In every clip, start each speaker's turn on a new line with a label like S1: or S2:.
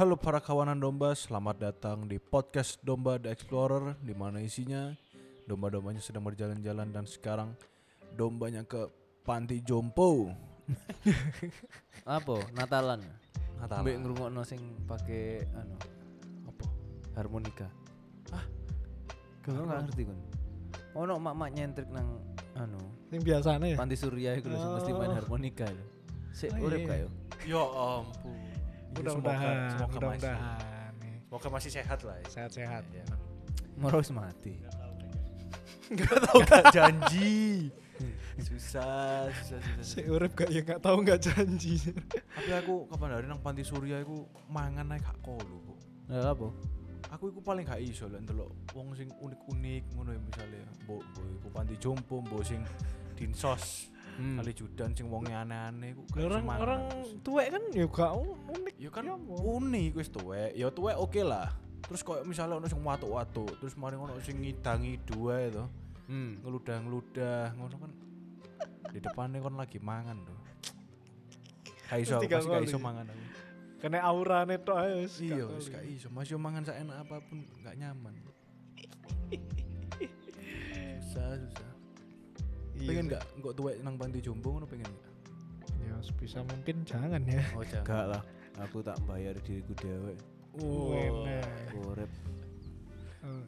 S1: Halo para kawanan domba, selamat datang di podcast Domba The Explorer di mana isinya domba-dombanya sedang berjalan-jalan dan sekarang dombanya ke Panti Jompo.
S2: apa Natalan
S1: Natalan.
S2: mbek ngrungokno sing pake anu apa harmonika ah gak nggak ngerti kan ono mak-mak nyentrik nang anu
S3: Yang biasanya ya.
S2: panti surya iku lho sing mesti main harmonika lho sik
S3: Oh,
S2: urip
S3: iya.
S2: gak yo
S1: Ya ampun.
S3: Mudah-mudahan,
S1: semoga, semoga masih
S3: mudah-mudahan. nih.
S1: semoga masih sehat lah ya.
S3: Sehat-sehat.
S1: Iya.
S2: moro wis mati
S1: Gak tahu gak janji. Hmm. susah, susah, susah.
S3: Si urip gak ya gak tahu gak janji.
S1: Tapi aku kapan hari nang Panti Surya aku mangan naik gak kolu, Bu.
S2: lha apa
S1: aku iku paling gak iso lek ndelok wong sing unik-unik ngono ya misale mbok mbok iku panti jompo mbok sing dinsos
S2: Hmm.
S1: kali judan sing wonge aneh-aneh iku gak iso
S3: Orang
S1: mangan
S3: orang
S1: aku sih.
S3: tuwek kan ya gak unik.
S1: ya kan
S3: apa?
S1: unik wis tuwek ya tuwek oke lah terus koyo misalnya ono sing watuk-watuk terus mari ono sing ngidangi dua itu
S2: hmm
S1: ngeludah-ngeludah ngono kan di depannya kon lagi mangan tuh gak iso
S3: Mesti
S1: aku
S3: gak
S1: masih gak
S3: ngoli.
S1: iso mangan aku
S3: Kena aurane tok ae wis. gak ya.
S1: iya
S3: tahu
S1: wis gak
S3: lagi.
S1: iso masih mangan seenak apapun gak nyaman susah susah
S3: Iya
S1: pengen
S3: sih.
S1: nggak nggak tuwek nang panti jombo ngono pengen nggak
S3: Ya sebisa mungkin jangan ya.
S1: oh jangan
S2: gak lah aku tak bayar diriku dewek
S3: Enak.
S2: urip
S3: Eh,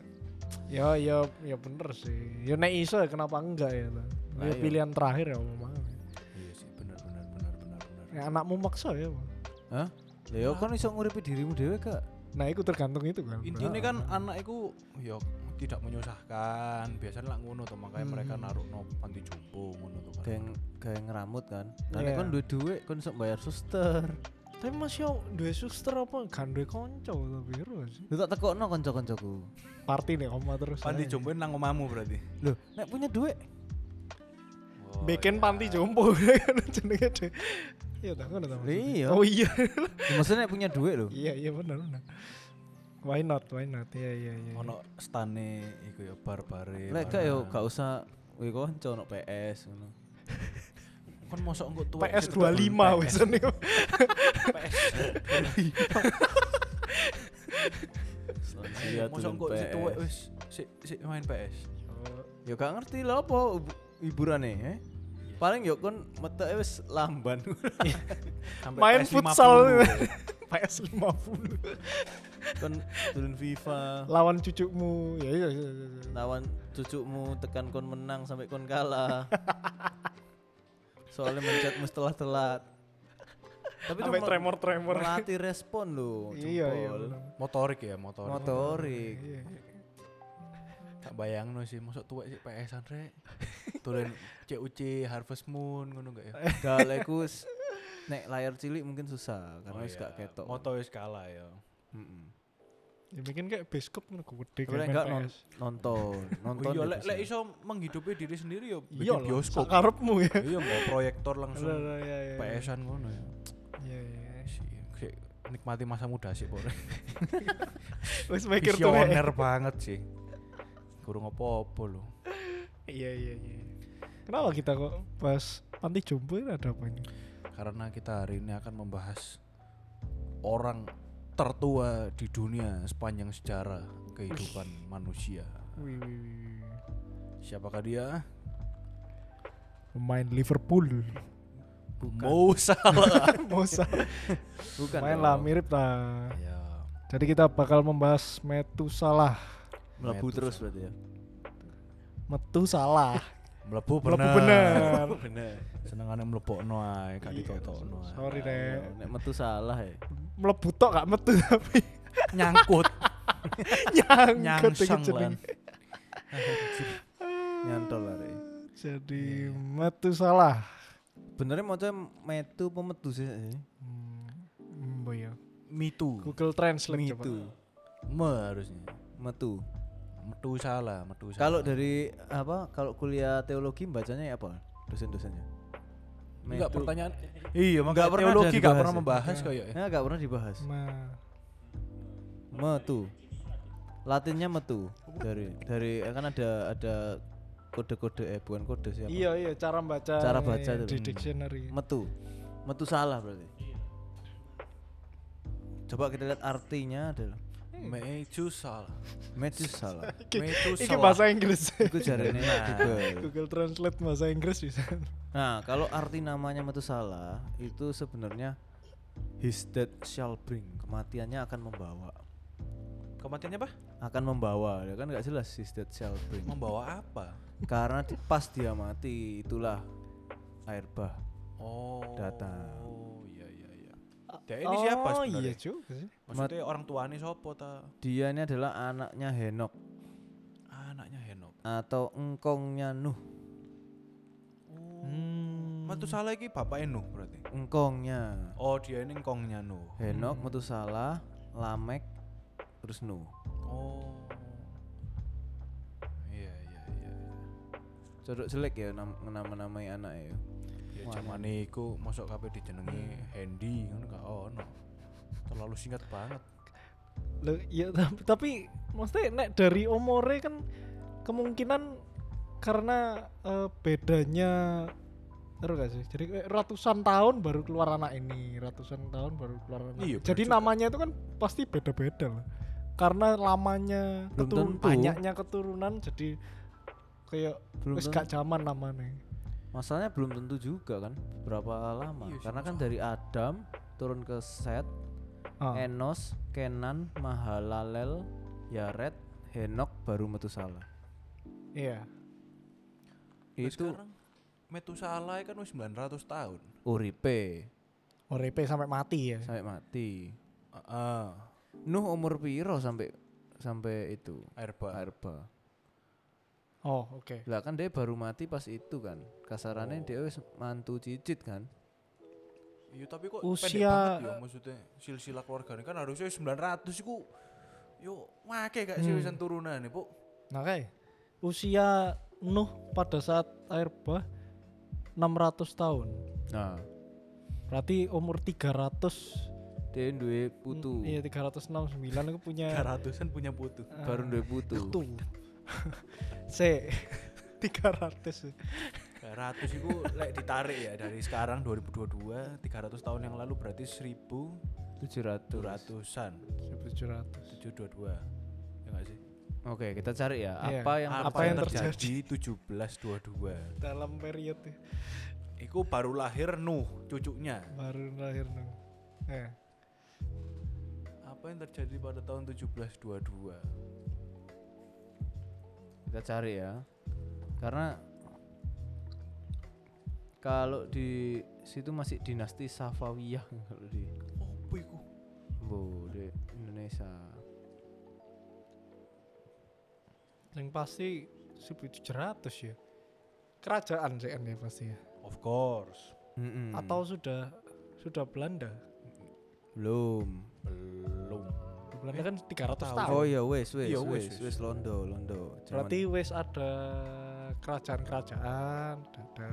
S3: Ya ya ya bener sih. Ya nek iso ya kenapa enggak ya. toh.
S2: Lah,
S3: Ya
S2: iya.
S3: pilihan terakhir ya mau.
S1: iya sih benar benar benar benar benar
S3: Ya, anakmu maksa ya. Bang.
S2: hah lha yo kon iso nguripi dirimu dewek gak
S3: Nah, itu tergantung itu kan.
S1: intinya kan anak itu ya tidak menyusahkan biasanya lah ngono tuh makanya mereka
S3: Hmm.
S1: naruh no panti jombo ngono tuh kan
S2: geng geng ngeramut kan nah nek
S3: Iya.
S2: kon duwe duwe kon iso bayar suster
S3: Tapi masih yo duwe suster apa gak duwe kanca tapi ero sih.
S2: lu tak tekokno kanca-kancaku
S3: Party nih oma terus. Eh.
S1: panti
S3: ae.
S1: jombo nang omamu berarti
S2: Loh, nek punya duit
S1: Oh,
S3: bikin panti
S1: iya.
S3: jompo jenenge deh iya tak ngono ta
S2: Lah
S3: maksudnya.
S2: iya.
S3: oh iya
S2: Ya, maksudnya nek punya duit loh.
S3: iya iya bener bener why not why not iya iya iya
S1: ono stane iku ya bar bare
S2: Lek gak yo gak usah kowe kanca ono PS ngono. ya?
S1: kan mosok engko tuwek Oh,
S3: PS
S1: sing
S3: 25 wis niku
S1: PS
S2: Iya,
S1: mosok engko
S2: turun
S1: sik tuwek
S2: PS.
S1: wis sik sik main PS
S2: Yo gak ngerti lah apa hub- hiburane,
S3: Iya.
S2: eh. Paling yo kon meteke wis lamban.
S1: Sampai
S3: Main
S1: PS 50.
S3: futsal. PS 50
S2: kon turun FIFA,
S3: lawan cucukmu ya iya iya iya, iya.
S2: lawan cucukmu tekan kon menang sampai kon kalah. Soalnya mencetmu setelah telat. Tapi itu
S3: sampai
S2: mel-
S3: tremor tremor
S2: melatih respon lo,
S3: iya iya
S2: jempol.
S3: bener.
S1: motorik ya motorik
S2: Motorik.
S3: Iya, iya.
S1: tak bayang sih masuk tuwek sih PS an rek tulen CUC Harvest Moon ngono gak ya
S2: Galeku s- nek layar cilik mungkin susah karena
S1: Oh
S2: wis gak
S1: iya,
S2: ketok.
S1: moto wis kalah ya
S2: Mm-mm.
S3: ya bikin kayak bioskop ngono gede
S2: Tapi lek
S3: main
S2: gak
S3: PS.
S2: non- nonton, nonton.
S1: oh iya
S2: ya
S1: lek
S2: bisa.
S1: lek iso menghidupi diri sendiri ya bikin
S3: iya loh
S1: bioskop
S3: sakarepmu ya
S1: iya mau proyektor
S3: Iya,
S1: langsung
S3: iya, iya, iya.
S1: PS an ngono ya
S3: iya iya
S1: sih sih, nikmati masa muda sih pokoknya
S3: wis mikir tuh
S1: visioner banget sih kurang apa-apa lho
S3: iya iya iya kenapa kita kok bahas panti jompo ini ada apanya
S1: karena kita hari ini akan membahas orang tertua di dunia sepanjang sejarah kehidupan manusia.
S3: Wih, wih, wih, wih.
S1: Siapakah dia?
S3: pemain Liverpool
S1: Mo Salah.
S3: Mo Salah.
S2: bukan. ya,
S3: main
S2: dong.
S3: lah mirip lah
S1: ya,
S3: jadi kita bakal membahas metu salah
S2: melebu
S1: Metu
S2: terus
S1: salah.
S2: berarti ya.
S3: metu salah
S1: melebu bener.
S3: melebu bener
S2: Bener.
S1: Senengane mlebokno ae, gak
S3: Iya,
S1: ditotokno ae.
S3: sorry deh
S2: Nek metu salah ya.
S3: melebu tok gak metu tapi
S1: Nyangkut,
S3: nyangkut iki
S1: nyangsang lan.
S3: jeneng.
S2: Nyantol lah rek.
S3: jadi metu salah
S2: Benernya mau metu apa metu sih? eh?
S3: hmm, hmm, iya.
S1: Mitu.
S3: Google Translate coba
S2: Metu.
S1: Me harusnya.
S2: Metu.
S1: Metu salah, metu salah.
S2: Kalau dari apa? Kalau kuliah teologi bacanya ya apa? Dosen-dosennya.
S1: enggak
S2: Metu.
S1: pertanyaan. Iya, enggak
S2: Nggak pernah
S1: pernah teologi
S2: ada
S1: enggak
S2: dibahas
S1: pernah
S2: ya?
S1: membahas kayak
S2: Ya enggak pernah dibahas.
S3: Ma-
S2: Metu. Latinnya metu dari dari eh, kan ada ada kode-kode eh bukan kode siapa?
S3: iya iya cara baca
S2: Cara baca
S3: iya,
S2: tuh.
S3: di
S2: Hmm.
S3: dictionary
S2: Metu. Metu salah berarti. Coba kita lihat artinya adalah
S1: Metusala.
S2: Metusala.
S3: Hmm.
S1: Metusala.
S3: Iki bahasa Inggris.
S2: Iku jarene nang Google.
S3: Google Translate bahasa Inggris bisa.
S2: Nah, kalau arti namanya Metusala itu sebenarnya his death shall bring. Kematiannya akan membawa.
S1: Kematiannya apa?
S2: Akan membawa. Ya kan nggak jelas his death shall bring.
S1: Membawa apa?
S2: Karena di- pas dia mati itulah air bah.
S1: Oh.
S2: Datang.
S1: Oh, iya iya iya. Dia ini siapa
S3: Oh
S1: sebenarnya?
S3: iya juga sih.
S1: Maksudnya orang tuane siapa ta?
S2: Dia ini adalah anaknya Henok
S1: Anaknya Henok.
S2: atau engkongnya Nuh.
S1: Oh.
S3: Hmm.
S1: Metusala iki bapaknya Nuh berarti.
S2: Engkongnya.
S1: Oh, dia ini kongnya Nuh.
S2: Henok, Metusala, Lamek, terus Nuh.
S1: Oh. Iya iya iya.
S2: Cocok jelek ya nam- nama-namai anak ya.
S1: Ya zamane iku mosok kabeh dijenengi Hendy ngono gak ono. Terlalu singkat banget.
S3: Loh, ya tapi, tapi maksudnya nek dari umure kan kemungkinan karena eh, bedanya terus gak sih? Jadi eh, ratusan tahun baru keluar anak ini, ratusan tahun baru keluar anak.
S1: Iya,
S3: ini. Jadi
S1: bener juga.
S3: namanya itu kan pasti beda-beda lah. Karena lamanya
S2: Belum
S3: keturun-
S2: tentu.
S3: banyaknya keturunan jadi kayak
S2: Belum
S3: wis
S2: tentu.
S3: gak zaman namanya.
S2: Masalahnya belum tentu juga kan berapa lama.
S1: Iya sih,
S2: Karena kan dari Adam turun ke Set,
S3: Ah.
S2: Enos, Kenan, Mahalalel, Yaret, Henok baru Metusala.
S3: Iya.
S1: Terus
S2: Itu
S1: sekarang Metusala kan wis 900 tahun.
S2: uripe
S3: Uripe sampai mati ya.
S2: sampai mati.
S1: Heeh.
S2: Nuh umur piro sampai sampai itu?
S1: Airba.
S2: Arba.
S3: Oh, oke.
S2: Lah kan dia baru mati pas itu kan. Kasarannya
S1: Oh.
S2: dia wis mantu cicit kan.
S1: Iya tapi kok pendek
S3: Usia-
S1: banget ya maksudnya silsilah keluargane kan harusnya 900 iku yo wake gak sih
S3: Hmm.
S1: wisan turunan nih, Bu.
S3: Nah, kayak usia Nuh pada saat air bah 600 tahun.
S2: Nah,
S3: Berarti umur 300
S2: dia duwe putu.
S3: Iya, 369 aku punya
S1: 300-an punya putu.
S2: Baru duwe putu.
S3: tuh. C 300.
S1: 300 iku lek ditarik ya dari sekarang 2022 300 tahun yang lalu berarti 1200-an.
S2: 700.
S3: 1700.
S1: 722. Ya gak sih?
S2: Oke, kita cari ya
S3: Iya.
S2: apa yang
S3: Apa yang terjadi?
S1: terjadi 1722?
S3: Dalam ya, periode itu,
S1: Iku baru lahir Nuh cucunya.
S3: baru lahir Nuh. Eh,
S1: Apa yang terjadi pada tahun 1722?
S2: kita cari ya. Karena kalau di situ masih dinasti Safawiyah kalau di
S1: Opo iku?
S2: Bo, di Indonesia.
S3: yang pasti 1700 ya. Kerajaan CN ya pasti ya.
S1: Of course.
S2: Mm-mm.
S1: Hmm.
S3: Atau sudah sudah Belanda.
S2: belum.
S1: Belum.
S3: Belanda kan 300
S1: Eh, tahu.
S3: tahun.
S2: Oh ya wes wes
S1: Iya, wes,
S2: wes
S1: wes.
S2: wes Londo Londo. Zaman-
S3: Berarti wes ada kerajaan-kerajaan, ada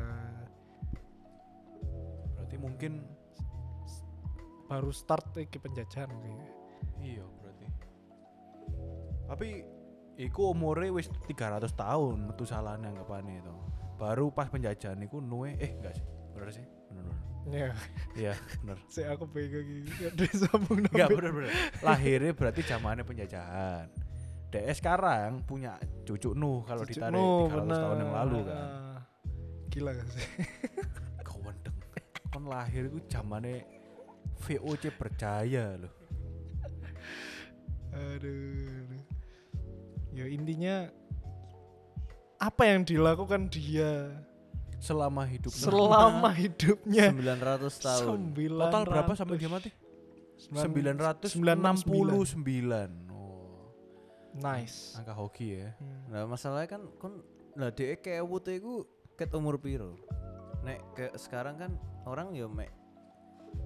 S1: Berarti mungkin
S3: baru start iki penjajahan kayaknya.
S1: iya berarti. Tapi iku umure wis 300 tahun metu salahnya anggapane itu. Baru pas penjajahan iku nuwe eh enggak sih. Bener sih? Bener bener.
S3: Ya,
S1: Iya, bener.
S3: saya aku pegang iki. Ya disambung
S1: Enggak
S3: nabi.
S1: bener bener. Lahirnya berarti zamannya penjajahan. DS sekarang punya cucu Nuh kalau
S3: Cucu-
S1: ditarik
S3: no,
S1: 300 tahun yang lalu
S3: Oh, bener. Ah,
S1: kan.
S3: Gila gak sih?
S1: Kawan deng. Kon lahir itu zamannya VOC percaya loh.
S3: Aduh. aduh. Ya intinya apa yang dilakukan dia
S1: Selama hidupnya.
S3: selama hidupnya
S2: 900 tahun.
S1: Total berapa sampai dia mati? 969. Oh,
S3: Nice.
S1: angka hoki ya.
S3: Hmm.
S2: Nah, masalahnya kan kon lah dhek kewut iku ket umur piro? Nek ke sekarang kan orang ya mek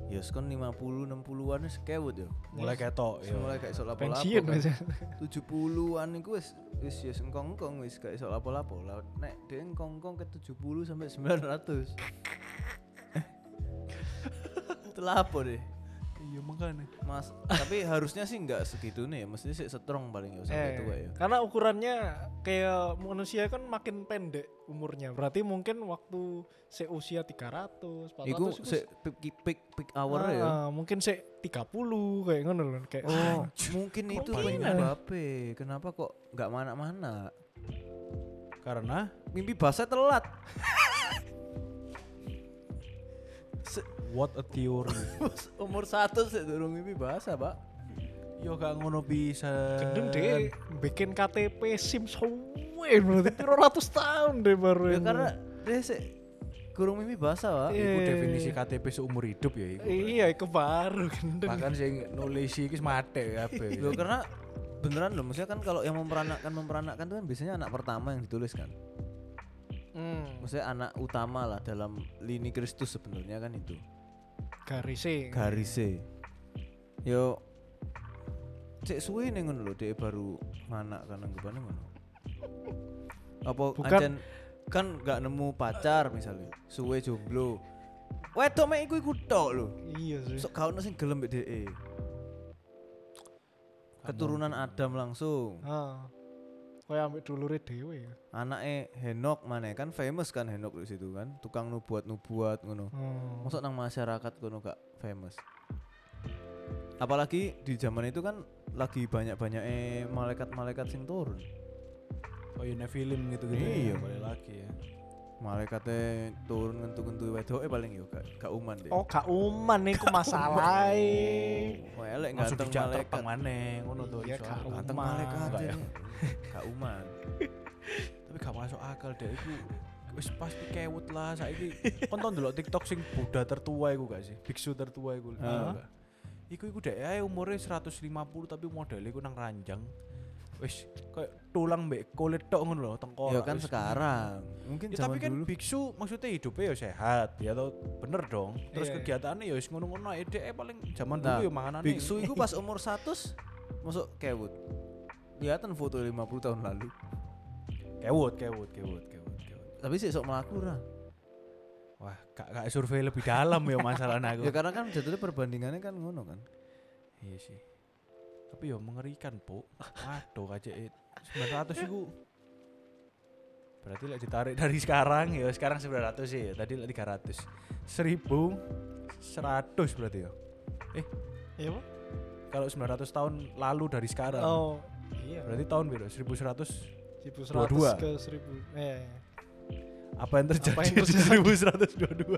S2: ya kon 50 60-an wis kewut ya.
S1: Mulai ketok
S2: Wis
S1: ya.
S2: mulai gak iso lapo-lapo.
S3: Iya.
S2: kan.
S3: Pensiun aja.
S2: 70-an iku wis wis ya engkong-engkong wis gak iso lapo-lapo. Lah nek dhek engkong-engkong ke 70 sampai 900. Eh. Itu lapo deh.
S1: iya makanya
S2: Mas, tapi harusnya sih nggak segitu nih ya. Mestinya sih strong paling ya sampai
S3: Eh,
S2: tua ya.
S3: Karena ukurannya kayak manusia kan makin pendek umurnya. Berarti mungkin waktu seusia 300, 400
S2: Iku
S3: iku
S2: se pick pick- pick pick hour ya.
S3: ah, Mungkin se 30 kayak ngono loh kayak
S2: Oh, mungkin itu
S3: Kemungkinan.
S2: penyebabnya. Kenapa kok nggak mana-mana?
S1: karena
S2: Mimpi basah telat. Se-
S1: what a theory
S2: umur satu sih durung mimpi basah, Pak.
S1: yo gak ngono bisa
S3: gendeng deh bikin KTP SIM suwe berarti piro ratus tahun deh baru
S2: Ya
S3: ini.
S2: karena dia sih kurung mimpi basah, Pak.
S3: Iya.
S1: itu definisi KTP seumur hidup ya iku.
S3: iya itu baru gendeng.
S1: bahkan sing nulis iki mate ya, kabeh
S2: Loh, karena beneran loh, maksudnya kan kalau yang memperanakkan memperanakkan itu kan biasanya anak pertama yang ditulis kan.
S3: Hmm,
S2: Maksudnya anak utama lah dalam lini Kristus sebenarnya kan itu.
S3: garisnya.
S2: Garise. Yo cek suwe ning ngono lho dhek baru manak kan anggapane ngono. Apa
S3: Bukan.
S2: ancen kan gak nemu pacar misalnya, suwe jomblo. Wedok mek iku iku tok lho.
S3: Iya sih.
S2: Sok gak ono sing gelem mbek dhek. Keturunan Adam langsung.
S3: Ah. Kayak ambek dulure dhewe ya.
S2: Anaknya Henok mana kan famous kan Henok di situ kan, tukang nubuat-nubuat ngono.
S3: Hmm.
S2: Masuk nang masyarakat kono gak famous. Apalagi di zaman itu kan lagi banyak-banyak eh malaikat-malaikat sing turun.
S1: oh iya film gitu gitu
S2: Iya.
S1: boleh lagi ya
S2: Malaikatnya turun ngentu-ngentu wedok eh paling yo gak gak uman deh.
S3: Oh, gak uman iku masalahe.
S2: Wah, elek
S1: langsung
S2: ganteng
S1: dicatat
S2: malaikat.
S1: pang maneh ngono to
S3: Iya,
S1: iso.
S3: karo.
S2: Ganteng
S3: Uman.
S2: malaikat
S1: Enggak
S2: ya.
S1: ya.
S2: Gak uman.
S1: tapi gak masuk akal deh iku wis pasti kewut lah saiki kon tau ndelok TikTok sing Buddha tertua iku gak sih biksu tertua iku tau gak? iku iku dek ae umure 150 tapi modelnya iku nang ranjang wis kayak tulang mbek kulit tok ngono lho tengkorak
S2: Ya kan
S1: wis.
S2: sekarang. Mungkin
S1: Oh, Ya,
S2: zaman
S1: tapi kan
S2: dulu.
S1: biksu maksudnya hidupnya ya sehat ya tau bener dong terus
S3: Iya, iya.
S1: kegiatannya ya wis ngono-ngono ae dek ae paling zaman
S2: Nah,
S1: dulu ya makanannya
S2: Biksu itu pas umur 100 masuk kewut. Lihatan foto 50 tahun lalu.
S1: kewut kewut kewut kewut kewut
S2: Tapi sih sok melaku lah.
S1: wah gak, gak survei lebih dalam ya masalah aku
S2: Ya karena kan jatuhnya perbandingannya kan ngono kan.
S1: Iya sih. Tapi ya mengerikan, Po. Waduh, KCE 900 iku. Berarti lek ditarik dari sekarang ya sekarang 900 sih ya. Tadi lek 300. 1000 100 berarti ya.
S3: Iya, Pak?
S1: Kalau 900 tahun lalu dari sekarang.
S3: Oh, iya.
S1: Berarti tahun biru 1100 Dua-dua.
S3: 1100 ke 1000. Eh,
S1: apa yang terjadi,
S3: yang terjadi?
S1: di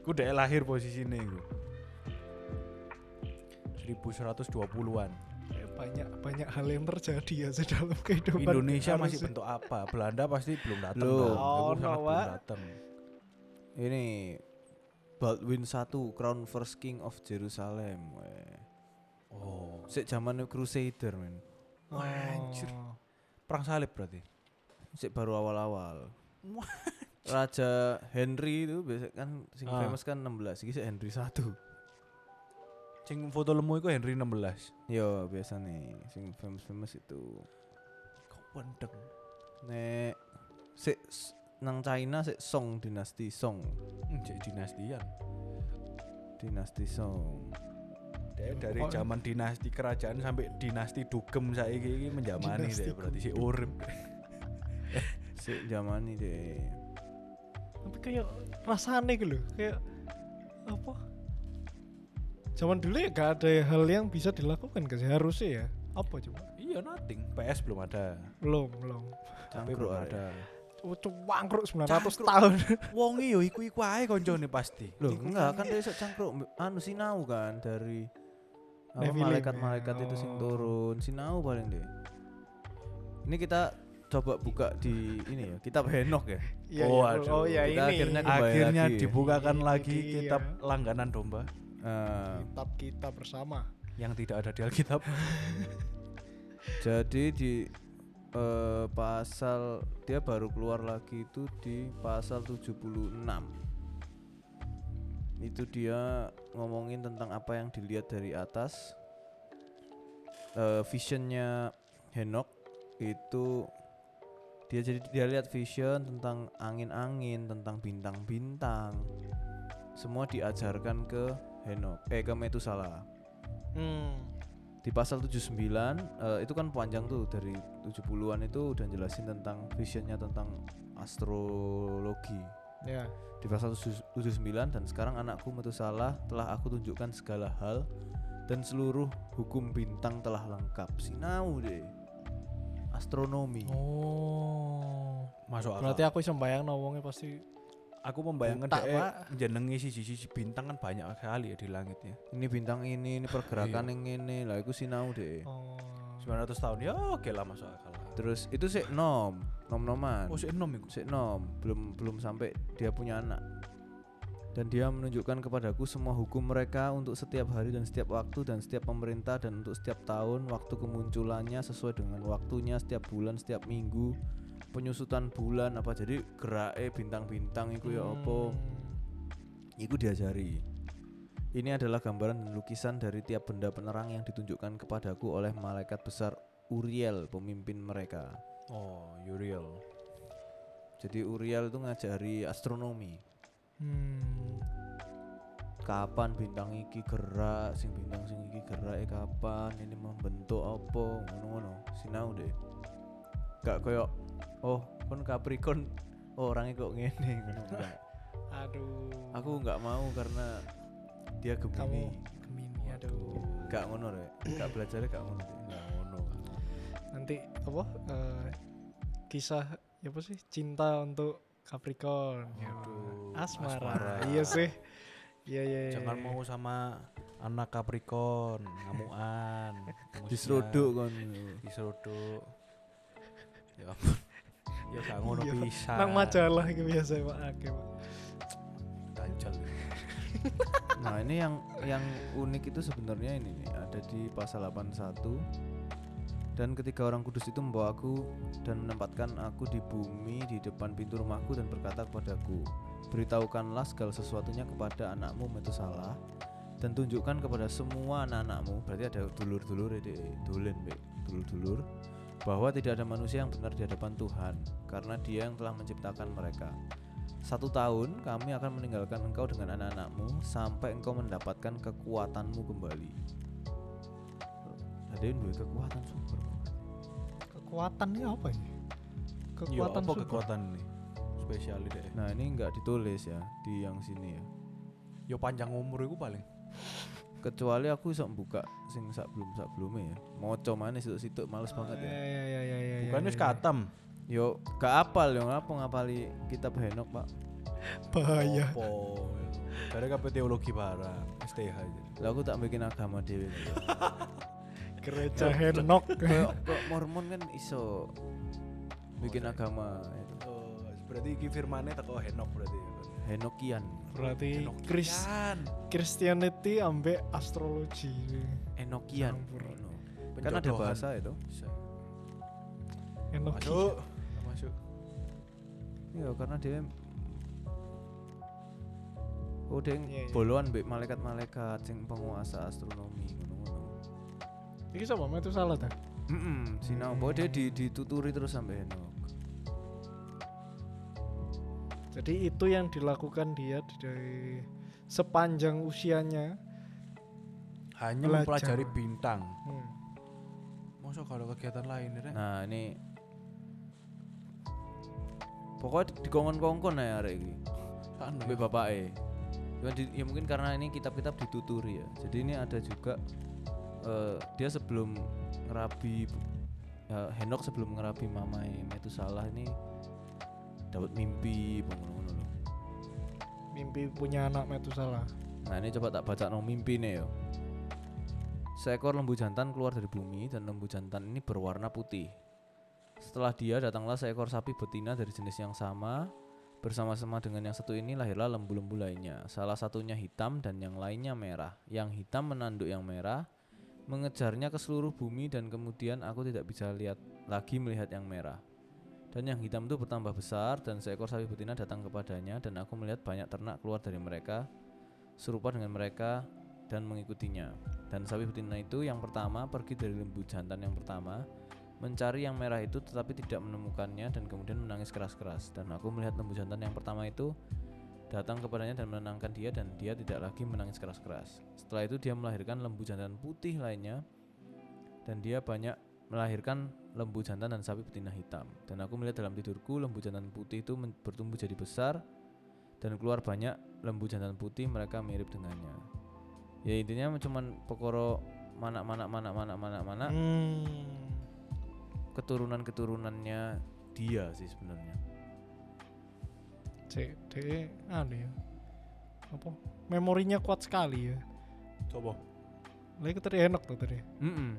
S1: 1122? Ku dek lahir posisi ini iku. 1120-an.
S3: eh, banyak banyak hal yang terjadi ya di dalam kehidupan
S1: Indonesia masih
S3: manusia.
S1: bentuk apa? Belanda pasti belum datang.
S2: Belum.
S1: dong. Iku sangat
S3: Oh, no,
S1: belum
S3: Wak.
S1: datang.
S2: Ini Baldwin 1 Crown First King of Jerusalem. weh.
S1: Oh,
S2: Sik zaman Crusader men.
S3: Oh.
S1: Wah, anjir. perang salib berarti.
S2: Sik baru awal-awal.
S1: Wah.
S2: Raja Henry itu biasa kan sing
S1: Ah.
S2: famous kan 16. Iki sik Henry 1.
S1: Sing foto lemu iku Henry 16.
S2: Yo biasa nih sing famous-famous itu.
S1: Kok wendeng.
S2: Nek sik s- nang China sik Song dinasti Song.
S1: Jadi Hmm, dinastian.
S2: Dinasti Song.
S1: Dia dari
S3: Oh.
S1: zaman dinasti kerajaan sampai dinasti dugem saiki iki menjamani
S3: Dinasti
S1: deh berarti si urip.
S2: Sik zaman ini deh.
S3: tapi kayak rasanya gitu loh kayak apa zaman dulu ya gak ada hal yang bisa dilakukan gak sih harusnya ya apa coba
S1: Iya nothing. PS belum ada.
S3: belum belum
S1: Tapi
S2: Cangkruk
S1: belum
S2: arek.
S1: ada.
S3: Oh, cangkruk 900
S1: Cangkruk.
S3: tahun
S1: Wong yo iku-iku ae koncone pasti.
S2: Loh,
S1: Iku
S2: enggak kan dia sok cangkruk mbe- anu sinau kan dari apa,
S3: Nevilim,
S2: malaikat-malaikat
S3: ya.
S2: itu sing
S3: Oh.
S2: turun sinau paling deh. Ini kita coba buka di ini ya, kitab Henok ya.
S3: Iya,
S1: Oh,
S3: iya,
S1: aduh.
S3: oh ya
S2: Kita
S3: ini
S2: akhirnya kembali
S1: Akhirnya
S2: lagi ya.
S1: dibukakan
S3: Ini
S1: lagi
S3: dia.
S1: kitab langganan domba
S2: Eh,
S3: kitab kita bersama
S1: yang tidak ada di Alkitab.
S2: jadi di eh, pasal dia baru keluar lagi itu di pasal 76. Itu dia ngomongin tentang apa yang dilihat dari atas. Eh, visionnya Henok itu dia jadi dia lihat vision tentang angin-angin, tentang bintang-bintang. Semua diajarkan ke Henok eh ke Metusala
S3: Hmm.
S2: di pasal 79 eh, itu kan panjang tuh dari 70-an itu udah jelasin tentang visionnya tentang astrologi
S3: Ya.
S2: di pasal 79 dan sekarang anakku Metusala telah aku tunjukkan segala hal dan seluruh hukum bintang telah lengkap sinau deh astronomi
S3: Oh.
S1: Masuk akal.
S3: Berarti aku iso bayang wonge pasti
S1: aku membayangkan
S3: Buta,
S1: dia
S3: Pak.
S1: jenengi siji-siji bintang kan banyak sekali ya di langitnya.
S2: ini bintang ini ini pergerakan yang ini lah aku sinau deh
S3: oh.
S1: 900 tahun ya oke lah masuk akal. lah.
S2: terus itu sih nom nom noman
S1: Oh, si enom iku.
S2: Sik nom, belum belum sampai dia punya anak. Dan dia menunjukkan kepadaku semua hukum mereka untuk setiap hari dan setiap waktu dan setiap pemerintah dan untuk setiap tahun, waktu kemunculannya sesuai dengan waktunya setiap bulan, setiap minggu, penyusutan bulan apa jadi gerake bintang-bintang itu ya opo.
S3: Hmm.
S2: Iku diajari. Ini adalah gambaran dan lukisan dari tiap benda penerang yang ditunjukkan kepadaku oleh malaikat besar Uriel, pemimpin mereka.
S1: Oh, Uriel.
S2: Jadi Uriel itu ngajari astronomi.
S3: Hmm.
S2: kapan bintang iki gerak sing bintang sing iki gerak eh kapan ini membentuk apa ngono ngono sinau deh gak koyok oh kon Capricorn oh, orangnya kok ngene ngono enggak
S3: Aduh.
S2: aku nggak mau karena dia
S3: kamu
S2: gemini
S3: Gemini. Aduh.
S2: gak ngono rek gak belajar gak ngono Dek.
S1: Enggak ngono.
S3: Nanti apa? eh, kisah ya apa sih? Cinta untuk Capricorn. Ya.
S1: Aduh,
S3: Asmara.
S1: asmara.
S3: Iya sih. Iya iya. iya,
S1: Jangan
S3: iya.
S1: mau sama anak Capricorn, ngamuan. Musuhan.
S2: diseruduk kon
S1: diseruduk. Ya ampun. Ya gak ngono
S3: Iya.
S1: pisan.
S3: nang majalah gitu biasa Pak Ake, Pak.
S1: Ganjel.
S2: nah ini yang yang unik itu sebenarnya ini nih ada di pasal 81 dan ketiga orang kudus itu membawa aku dan menempatkan aku di bumi di depan pintu rumahku dan berkata kepadaku beritahukanlah segala sesuatunya kepada anakmu Metusalah dan tunjukkan kepada semua anak-anakmu berarti ada dulur-dulur ya dulen Mbak. dulur-dulur bahwa tidak ada manusia yang benar di hadapan Tuhan karena dia yang telah menciptakan mereka satu tahun kami akan meninggalkan engkau dengan anak-anakmu sampai engkau mendapatkan kekuatanmu kembali. Ada yang duwe kekuatan super.
S3: Kekuatan ini apa ya?
S1: Ya
S3: Kekuatan
S1: Iya, apa
S3: super.
S1: kekuatan nih? Spesial deh.
S2: Nah ini nggak ditulis ya di yang sini ya.
S1: Yo panjang umur iku paling.
S2: Kecuali aku bisa buka sing sak belum sak belumnya ya. Mau coba situ situ males banget ya.
S1: Iya,
S3: Ya ya ya ya ya.
S1: Bukan
S3: ya,
S1: wis
S3: ya.
S1: katam.
S2: Yo gak apal yo ngapa ngapali kitab Henok pak.
S3: bahaya.
S1: Opo. Dari kabeh teologi barang, STH aja.
S2: Lah aku tak bikin agama dewi.
S3: Gereja
S1: Iya.
S3: Henok.
S2: Kayak kayak Mormon kan iso bikin agama itu.
S1: Oh, berarti iki firmane teko Henok berarti.
S2: Henokian.
S3: Berarti Chris Christianity ambek astrologi.
S2: Enokian.
S3: Campur.
S2: Ngono. Kan ada bahasa itu.
S3: Henok.
S1: Masuk. Masuk.
S2: Iya karena dia Oh dia
S3: Iya, iya.
S2: boloan mbek malaikat-malaikat sing penguasa astronomi ngono-ngono.
S3: Iki sama itu salah ta?
S2: Heeh, sinau bahwa dia
S3: Hmm.
S2: di- dituturi terus sampai Henok.
S3: Jadi itu yang dilakukan dia di- dari sepanjang usianya.
S1: Hanya
S3: Belajar.
S1: mempelajari bintang.
S3: Hmm.
S1: Masuk kalau kegiatan lain Rek?
S2: Nah, ini Pokoknya di- dikongkon-kongkon ya arek iki
S1: Anu ya.
S2: mbek bapake. Cuman di- ya mungkin karena ini kitab-kitab dituturi ya. Jadi ini ada juga eh, dia sebelum ngerabi ya, Henok sebelum ngerabi mamai Metusalah ini dapat mimpi ngono-ngono loh.
S3: Mimpi punya anak Metusalah.
S2: Nah ini coba tak baca no mimpi nih yo. Seekor lembu jantan keluar dari bumi dan lembu jantan ini berwarna putih. Setelah dia datanglah seekor sapi betina dari jenis yang sama bersama-sama dengan yang satu ini lahirlah lembu-lembu lainnya. Salah satunya hitam dan yang lainnya merah. Yang hitam menanduk yang merah, mengejarnya ke seluruh bumi dan kemudian aku tidak bisa lihat lagi melihat yang merah. Dan yang hitam itu bertambah besar dan seekor sapi betina datang kepadanya dan aku melihat banyak ternak keluar dari mereka serupa dengan mereka dan mengikutinya. Dan sapi betina itu yang pertama pergi dari lembu jantan yang pertama mencari yang merah itu tetapi tidak menemukannya dan kemudian menangis keras-keras dan aku melihat lembu jantan yang pertama itu datang kepadanya dan menenangkan dia dan dia tidak lagi menangis keras-keras. Setelah itu dia melahirkan lembu jantan putih lainnya dan dia banyak melahirkan lembu jantan dan sapi betina hitam. Dan aku melihat dalam tidurku lembu jantan putih itu men- bertumbuh jadi besar dan keluar banyak lembu jantan putih mereka mirip dengannya. Ya intinya cuman pokoro manak manak manak manak manak manak
S3: Hmm.
S2: keturunan keturunannya dia sih sebenarnya.
S3: Cek, de, anu ya. Apa? Memorinya kuat sekali ya.
S1: Coba.
S3: Lagi tadi enak tuh tadi.
S2: Mm-mm.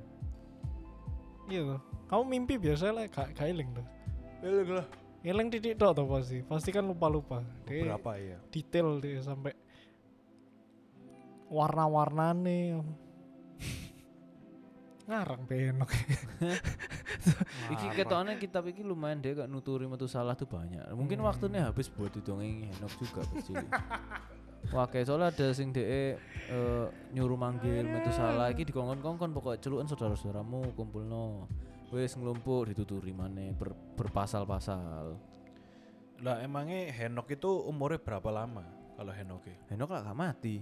S3: Iya tuh. Kamu mimpi biasa lah, gak gak eling tuh.
S1: lah.
S3: Eling titik tok tuh pasti. Pasti kan lupa-lupa. Dek,
S1: Berapa ya?
S3: detail deh sampai warna-warnane ngarang benok
S2: Iki
S1: Nah,
S2: ketokane kitab iki lumayan deh gak nuturi metu salah tuh banyak. Mungkin waktunya habis buat didongeng Henok juga pasti. Wah kayak soalnya ada sing de nyuruh manggil metu salah iki dikongkon-kongkon pokok celukan saudara-saudaramu kumpulno. Wes ngelumpuk dituturi maneh ber- berpasal-pasal.
S1: Lah emangnya Henok itu umurnya berapa lama? Kalau ya? Henoknya?
S2: Henok lah gak mati.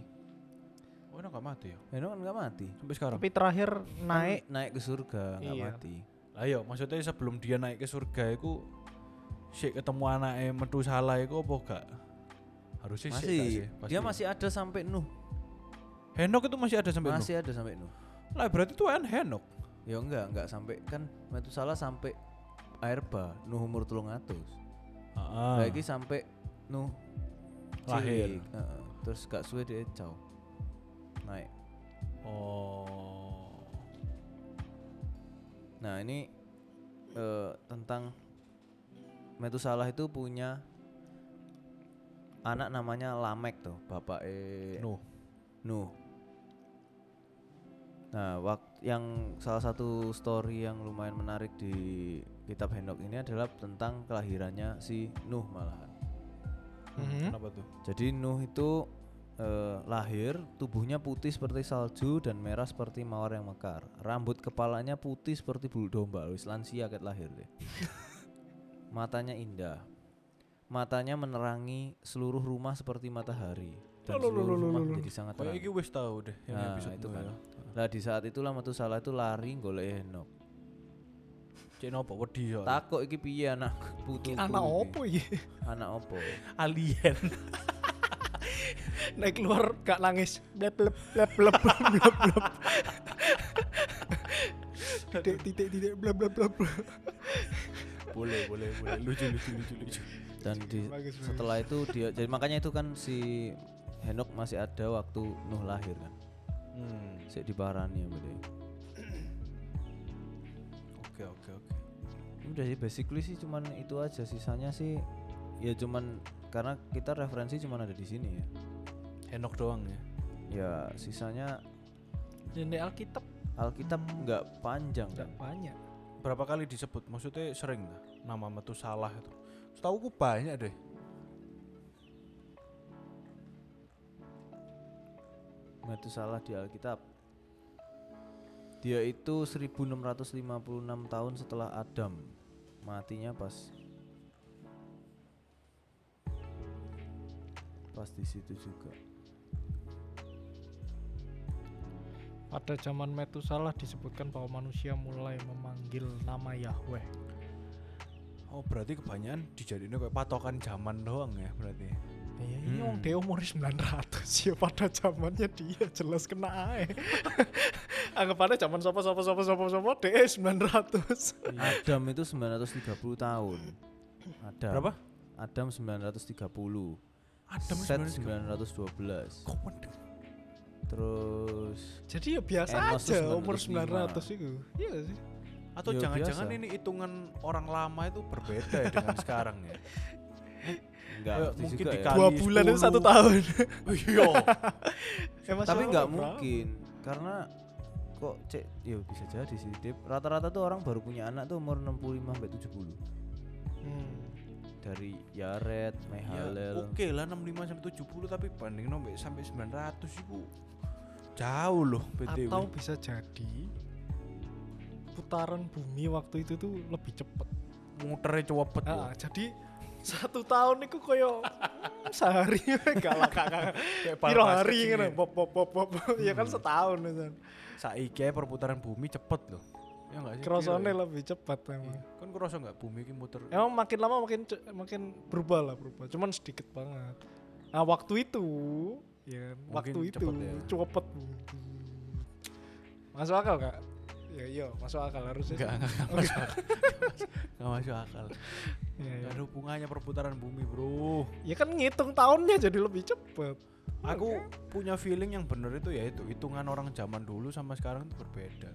S1: Oh, Henok gak mati ya?
S2: Henok kan gak mati.
S1: Sampai sekarang.
S3: tapi terakhir naik
S2: Naik ke surga gak
S3: Iya.
S2: mati.
S1: Lah iya, maksudnya sebelum dia naik ke surga iku sik ketemu anaknya metu salah iku apa gak? Harusnya sik gak
S2: Masih.
S1: sih? Pasti
S2: Dia
S1: ya.
S2: masih ada sampai Nuh.
S1: Henok itu masih ada sampai
S2: Masih ada sampai Nuh.
S1: Nuh. Lah berarti tuan Henok.
S2: Ya enggak, enggak sampai kan Metusalah sampai air bah Nuh umur telung atus.
S1: Heeh.
S2: Lagi sampai Nuh
S1: Ah. Lahir.
S2: cilik. Heeh. Terus gak suwe dia caw. Naik.
S1: Oh.
S2: Nah, ini eh, tentang Metusalah itu punya anak namanya Lamek tuh, bapak eh
S1: Nuh.
S2: Nuh. Nah, waktu yang salah satu story yang lumayan menarik di kitab Henok ini adalah tentang kelahirannya si Nuh malahan.
S3: Mhm.
S1: Kenapa tuh?
S2: Jadi Nuh itu eh, lahir tubuhnya putih seperti salju dan merah seperti mawar yang mekar. Rambut kepalanya putih seperti bulu domba. Wis lansia ket lahir deh. Matanya indah. Matanya menerangi seluruh rumah seperti matahari. Dan
S3: Lulu,
S2: seluruh
S3: lulu,
S2: rumah
S3: lulu.
S2: menjadi sangat
S1: Kayak
S2: terang.
S1: iki wis tau deh yang
S2: Nah,
S1: episode
S2: itu
S1: Nuh
S2: kan.
S1: ya.
S2: Lah di saat itulah Metusalah itu lari golek Henok.
S1: Cek nopo wedi ya.
S2: Takok iki piye anak putu.
S3: anak opo iki
S2: Anak opo?
S1: alien.
S3: naik keluar gak nangis blep blep blep blep blep blep blep titik titik titik blep blep blep blep.
S1: boleh, boleh, boleh. Lucu, lucu, lucu, lucu.
S2: Dan di
S3: Bagus, bagus.
S2: setelah itu dia jadi makanya itu kan si Henok masih ada waktu Nuh lahir kan.
S1: Hmm.
S2: Sik diparani ya berarti.
S1: Oke, oke, oke.
S2: Udah sih basically sih cuman itu aja sisanya sih ya cuman karena kita referensi cuman ada di sini ya.
S1: Henok doang ya.
S2: Ya sisanya
S3: jadi alkitab
S2: Alkitab nggak panjang
S3: gak
S2: kan.
S3: banyak
S1: Berapa kali disebut? Maksudnya sering lah nama metu salah itu. Setahu ku banyak deh.
S2: Metusalah di Alkitab. Dia itu 1656 tahun setelah Adam. Matinya pas pas di situ juga.
S3: pada zaman Metusalah disebutkan bahwa manusia mulai memanggil nama Yahweh
S1: Oh, berarti kebanyakan dijadiin kayak patokan zaman doang ya berarti.
S3: Iya, ini wong
S2: Hmm.
S3: dia umur 900 ya pada zamannya dia jelas kena ae. Anggapannya zaman sapa sapa sapa sapa sapa dia 900.
S2: Adam itu 930 tahun. Adam.
S1: Berapa?
S2: Adam 930.
S1: Adam
S2: Set
S1: sebenarnya
S2: 912.
S1: kok mending.
S2: Terus
S3: Jadi ya biasa
S2: Enos tuh
S3: aja umur
S2: 905.
S3: 900 itu. Iya gak sih.
S1: Atau
S2: Ya,
S1: jangan-jangan
S2: biasa.
S1: ini hitungan orang lama itu berbeda ya dengan sekarang ya.
S2: enggak
S1: Ya,
S2: ngerti
S1: mungkin
S2: juga ya.
S1: dikali-
S3: Dua
S1: Kali
S3: bulan itu
S1: 10.
S3: satu tahun.
S1: Iya.
S3: Emang
S2: Tapi
S3: siapa
S2: nggak
S3: berapa?
S2: mungkin karena kok cek ya bisa jadi sih Dip. Rata-rata tuh orang baru punya anak tuh umur 65 sampai 70.
S3: Hmm.
S2: Dari Yaret,
S3: Iya,
S1: Ya,
S2: Mehalel.
S1: Oke lah 65 sampai 70 tapi banding nombe sampai 900 itu jauh loh PTW.
S3: Atau bisa jadi putaran bumi waktu itu tuh lebih cepet.
S1: muternya cepet
S3: Ah,
S1: loh.
S3: jadi satu tahun itu koyo mm, sehari gak lah kakak
S1: Kayak bal
S3: piro
S1: basket
S3: hari
S1: sih,
S3: gitu
S1: Nen.
S3: bob bob bob bob ya kan setahun kan
S1: Saiki ae perputaran bumi cepet loh. Ya enggak sih?
S3: kerosone
S1: Piro ya?
S3: lebih cepat emang
S1: Iya. Kan kerasa enggak bumi ini muter?
S3: emang makin lama makin ce- makin berubah lah berubah cuman sedikit banget nah waktu itu ya kan,
S1: Mungkin
S3: waktu itu
S1: cepet ya.
S3: cepet masuk akal gak? ya iya masuk akal harusnya
S1: Enggak, enggak, enggak masuk akal. Enggak masuk akal.
S3: ya, ya.
S1: Enggak ada hubungannya perputaran bumi, Bro.
S3: ya kan ngitung tahunnya jadi lebih cepet
S1: Aku punya feeling yang bener itu ya itu hitungan orang zaman dulu sama sekarang itu berbeda.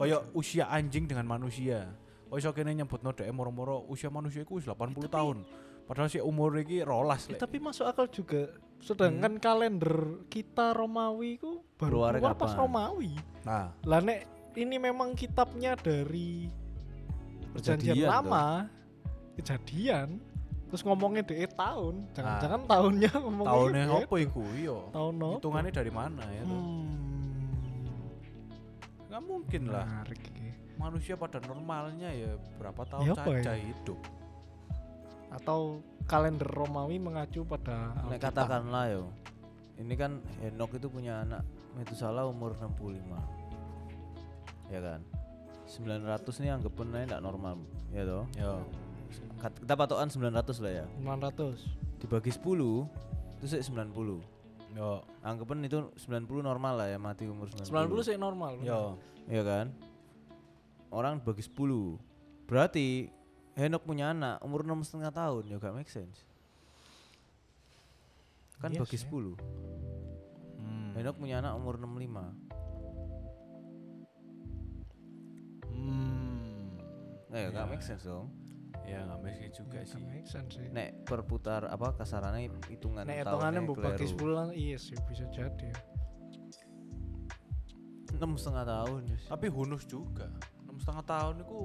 S1: Kayak
S3: Oh.
S1: usia anjing dengan manusia. Oh iso kene nyebutno dhek moro-moro usia manusia iku wis 80 tahun. Padahal sih umur iki rolas
S3: Ya,
S1: lek.
S3: tapi masuk akal juga. Sedangkan
S1: Hmm.
S3: kalender kita Romawi ku baru
S2: Keluarnya
S3: keluar pas
S2: kapan?
S3: Romawi.
S1: Nah,
S3: Lah nek ini memang kitabnya dari perjanjian
S2: Perjadian
S3: lama kejadian terus ngomongnya di tahun jangan-jangan tahunnya ngomongnya
S1: tahunnya
S3: beda.
S1: opo iku? Iya.
S3: tahun apa?
S1: Hitungannya dari mana ya tuh?
S3: hmm.
S1: Nggak mungkin lah.
S3: menarik ini.
S1: Manusia pada normalnya ya berapa tahun
S3: Ya apa
S1: saja
S3: ya?
S1: hidup.
S3: atau kalender Romawi mengacu pada
S2: Nek
S3: Alkitab.
S2: katakanlah yo. Ini kan Henok itu punya anak Metusalah umur 65. Ya kan. 900 nih anggap aja ndak normal, ya toh.
S1: Ya.
S2: Kat- Kita patokan 900 lah ya.
S3: 900
S2: Dibagi 10 itu sih 90.
S1: Ya.
S2: Anggapan itu 90 normal lah ya mati umur 90.
S3: 90 sih normal
S1: Ya.
S2: Iya kan? Orang bagi 10. Berarti Henok punya anak umur enam setengah tahun ya gak make sense. Kan
S3: Iya
S2: bagi
S3: sih.
S2: 10.
S1: Hmm.
S2: Henok punya anak umur 65.
S1: Hmm.
S2: Nah, ya gak
S3: Iya.
S1: Ya.
S2: make sense dong.
S1: Ya nggak mungkin juga
S3: Nggak
S1: sih.
S3: make sense sih.
S2: Nek perputar apa kasarannya hitungan
S3: Nek hitungannya mbok bagi
S2: keliru.
S3: 10 lah, iya sih bisa jadi.
S2: enam setengah tahun. Yus.
S1: Tapi hunus juga. Enam setengah tahun itu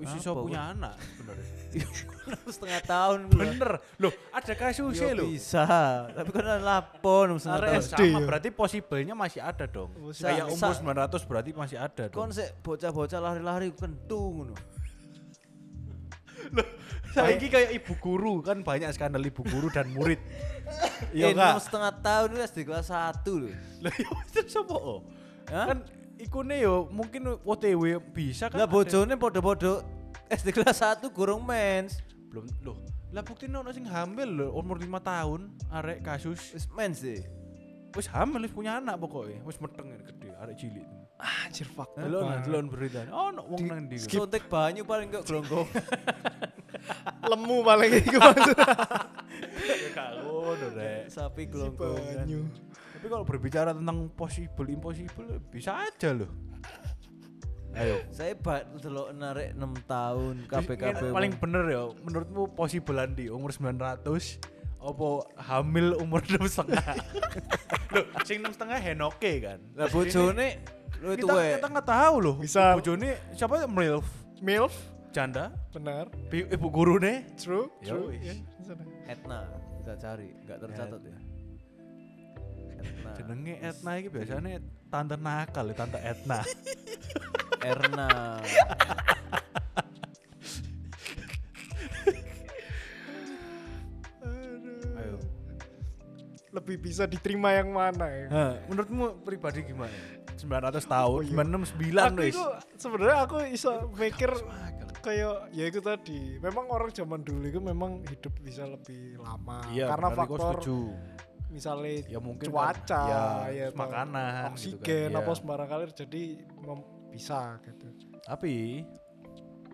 S1: wis iso
S2: Apa,
S1: punya anak sebenarnya.
S2: Enam setengah tahun gua.
S1: Bener. Loh, ada
S2: Ya
S1: kasusnya loh.
S2: bisa. Tapi kan lapor enam setengah
S1: Arek
S2: tahun.
S3: SD
S1: sama
S3: ya.
S1: berarti possible-nya masih ada dong.
S3: Oh, sa-
S1: Kayak umur
S2: sa-
S1: 900 berarti masih ada dong.
S2: Kon sik bocah-bocah lari-lari kentung ngono.
S1: Saiki kayak ibu guru kan banyak skandal ibu guru dan murid.
S2: Iya
S1: Iya
S2: enam
S1: enggak?
S2: setengah tahun itu SD kelas satu loh.
S1: Lah ya terus sapa? oh?
S2: Hah?
S1: Kan ikune yo mungkin OTW bisa kan.
S2: Lah
S1: ada-
S2: bojone podo-podo SD kelas satu gurung mens.
S1: belum loh. Lah bukti ono sing hamil loh umur 5 tahun arek kasus.
S2: Wis mens sih.
S1: Wis hamil wis punya anak pokoknya. Wis meteng ini gede arek cilik.
S3: Anjir fakta.
S1: Delon
S3: banget.
S1: delon berita. Oh, no, wong nang ndi?
S2: Suntik banyu paling kok gelonggong.
S3: Lemu paling iku maksud
S1: Kalau rek.
S2: Sapi gelonggong.
S3: banyu.
S1: Tapi kalau berbicara tentang possible impossible bisa aja loh. Ayo.
S2: Saya bat delok narik 6 tahun KBKB.
S1: Ini paling bener ya menurutmu possible di umur 900 apa hamil umur 6 setengah loh sing 6 setengah henoke kan
S2: lah bojone lu
S1: kita
S2: tuwe.
S1: kita nggak tahu loh
S3: Bisa.
S1: bojone siapa yang milf
S3: MILF
S1: janda
S3: benar.
S1: bi- ibu guru nih
S3: True,
S1: Ya
S3: true.
S1: wis.
S3: Ya, di sana.
S2: Etna kita cari, enggak tercatat ya. Etna.
S1: jenenge Etna ini biasanya tante nakal ya tante Etna
S2: Erna.
S3: Aduh.
S1: ayo
S3: Lebih bisa diterima yang mana ya?
S1: Hah, menurutmu pribadi gimana 900 tahun
S3: Oh, iya.
S1: 969
S3: aku
S1: wis
S3: itu sebenarnya aku iso mikir
S1: akal.
S3: kayak ya itu tadi. Memang orang zaman dulu itu memang hidup bisa lebih lama
S1: iya
S3: karena
S1: benar, aku
S3: faktor
S1: setuju.
S3: misalnya
S1: ya mungkin kan-
S3: cuaca
S1: ya,
S3: ya
S1: terus
S3: toh.
S1: makanan gitu
S3: oksigen
S1: kan,
S3: apa
S1: iya.
S3: sembarang kali jadi mem- bisa gitu
S1: tapi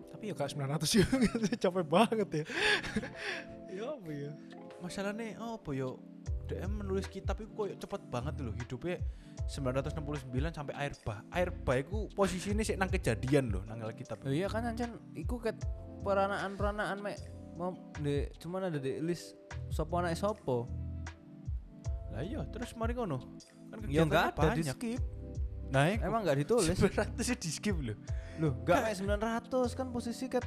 S3: tapi ya gak 900 ya capek banget ya ya apa ya
S1: masalahnya oh, apa yo DM menulis kitab itu kok cepet banget loh hidupnya 969 sampai air bah air bah itu posisinya sih nang kejadian loh nang kitab
S2: Lah iya kan ancan iku ket peranaan-peranaan mek mau de cuman ada di list sopo anak sopo.
S1: lah iya terus mari ngono kan
S2: Ya enggak
S1: kegiatannya
S2: ada di
S1: banyak.
S2: skip.
S1: nah iku.
S2: Emang enggak ditulis.
S1: 900 -nya di skip loh
S2: Loh, enggak mek 900 kan posisi ket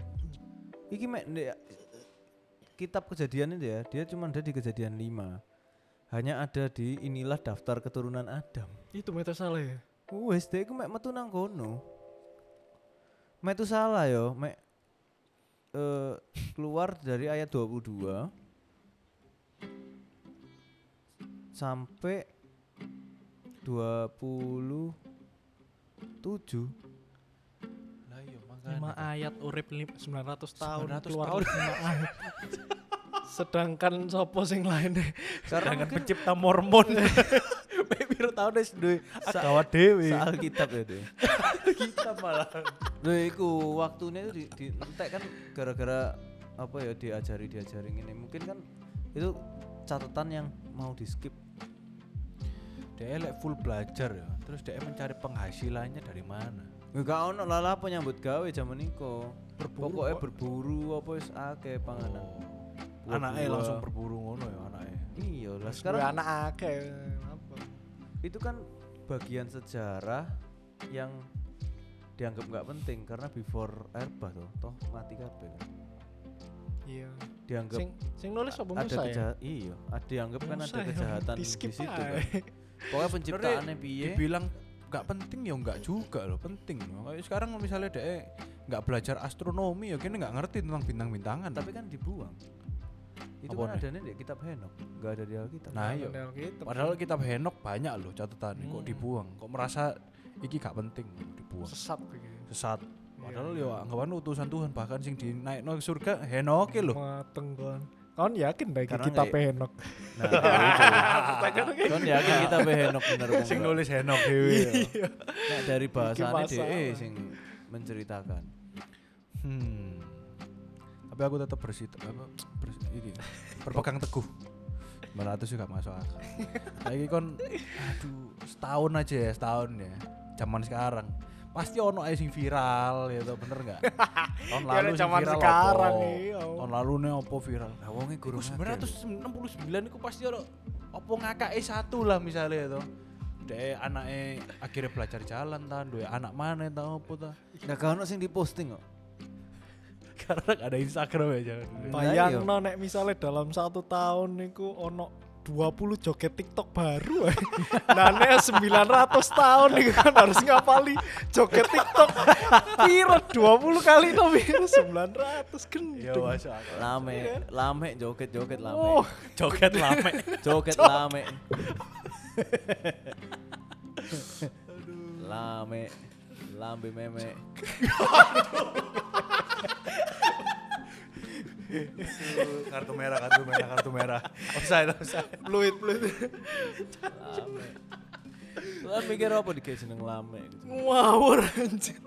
S2: iki mek ndek- ya, kitab kejadian itu ya, dia cuman ada di kejadian 5. Hanya ada di inilah daftar keturunan Adam.
S3: itu meta salah ya
S2: Wes dek iku mek metu nang kono. Mek itu salah yo, mek eh, keluar dari ayat 22 sampai 27
S1: Lah iya
S3: Lima
S1: makanya.
S3: ayat urip lim- 900 tahun
S1: 900
S3: keluar
S1: tahun.
S3: lima ayat. Sedangkan sopo sing lainnya
S2: Karena
S1: Jangan
S2: mungkin
S1: kan pencipta Mormon. Baby tahun wis duwe agama dhewe.
S2: soal kitab ya deh.
S1: Kita malah.
S2: Lho iku waktunya itu di, di entek kan gara-gara apa ya diajari diajari ini mungkin kan itu catatan yang mau di skip
S1: Dia lek full belajar ya. Terus dia mencari penghasilannya dari mana?
S2: Gak ono lah lah penyambut gawe zaman niko
S1: Berburu
S2: pokoknya
S1: kok.
S2: berburu apa wis akeh panganan
S1: Oh.
S2: Buah-buah.
S1: Anaknya langsung berburu ngono ya anaknya.
S2: iya lah
S3: sekarang
S2: sekarang
S3: anak akeh apa?
S2: itu kan bagian sejarah yang dianggap nggak penting karena before erba toh toh mati kabeh kan
S3: Iya.
S2: dianggap
S3: Sing sing nulis sopo
S2: ada
S3: Musa ya?
S2: kejahat iya ada dianggap kan
S3: Musa
S2: ada
S3: ya,
S2: kejahatan di
S3: di-skip
S2: situ
S3: ae.
S2: kan pokoknya penciptaannya piye
S1: Dibilang nggak penting ya nggak juga loh penting loh. Kayak sekarang misalnya dia nggak belajar astronomi ya kini nggak ngerti tentang bintang-bintangan.
S2: tapi kan dibuang itu kan
S1: Apaan ya?
S2: adanya di kitab Henok nggak ada di Alkitab
S1: Nah, iya.
S3: Bener gitu.
S1: Padahal kitab Henok banyak loh catatannya kok
S3: Hmm.
S1: dibuang. Kok merasa iki gak penting dibuang.
S3: sesat begitu.
S1: Sesat. Padahal ya anggapan utusan Tuhan bahkan sing dinaikno ke surga Henok loh.
S3: Oh. Mateng kon. Kon yakin baik
S2: Karena
S3: kita
S2: nggak-
S3: penok.
S2: nah itu kan yakin kitab Henok bener apa
S1: Sing
S2: enggak?
S1: nulis Henok
S3: Iya.
S1: dhewe.
S2: Nah, dari bahasanya
S3: masalah.
S2: DE sing menceritakan.
S1: Hmm. Tapi aku tetap bersih apa bersi, ini, berpegang teguh. 900 juga masuk akal. Lagi kon aduh setahun aja ya, setahun ya. Zaman sekarang pasti ono aja sing viral ya toh, bener nggak? Tahun
S3: Ya,
S1: lalu sing
S3: zaman
S1: viral
S3: sekarang,
S1: opo?
S3: iya.
S1: Tahun lalu nih opo viral. Nah, wonge
S2: gurung
S1: guru 969 iku pasti ono opo ngakake satu lah misalnya ya toh. Dek anake akhirnya belajar jalan ta, duwe anak mana ta opo ta.
S2: Nah, gak ono sing diposting kok.
S1: Karena nggak ada Instagram ya jangan.
S2: Nah,
S3: Bayang
S2: iya.
S3: nek misalnya dalam satu tahun niku ono 20 joget TikTok baru. eh. Nah, nek 900 tahun niku kan harus ngapali joget TikTok. Piro 20 kali to piro 900
S1: Ya
S3: gendeng.
S1: masuk akal.
S2: Lame,
S1: Iya.
S2: lame joget-joget lame.
S3: Oh,
S1: Joget lame.
S2: Joget lame. Lame. Lambe meme.
S1: kartu merah, kartu merah, kartu merah. Offside, offside.
S3: fluid fluid.
S2: Lame. Lah mikir apa dikasih jeneng lame gitu.
S3: Ngawur anjir.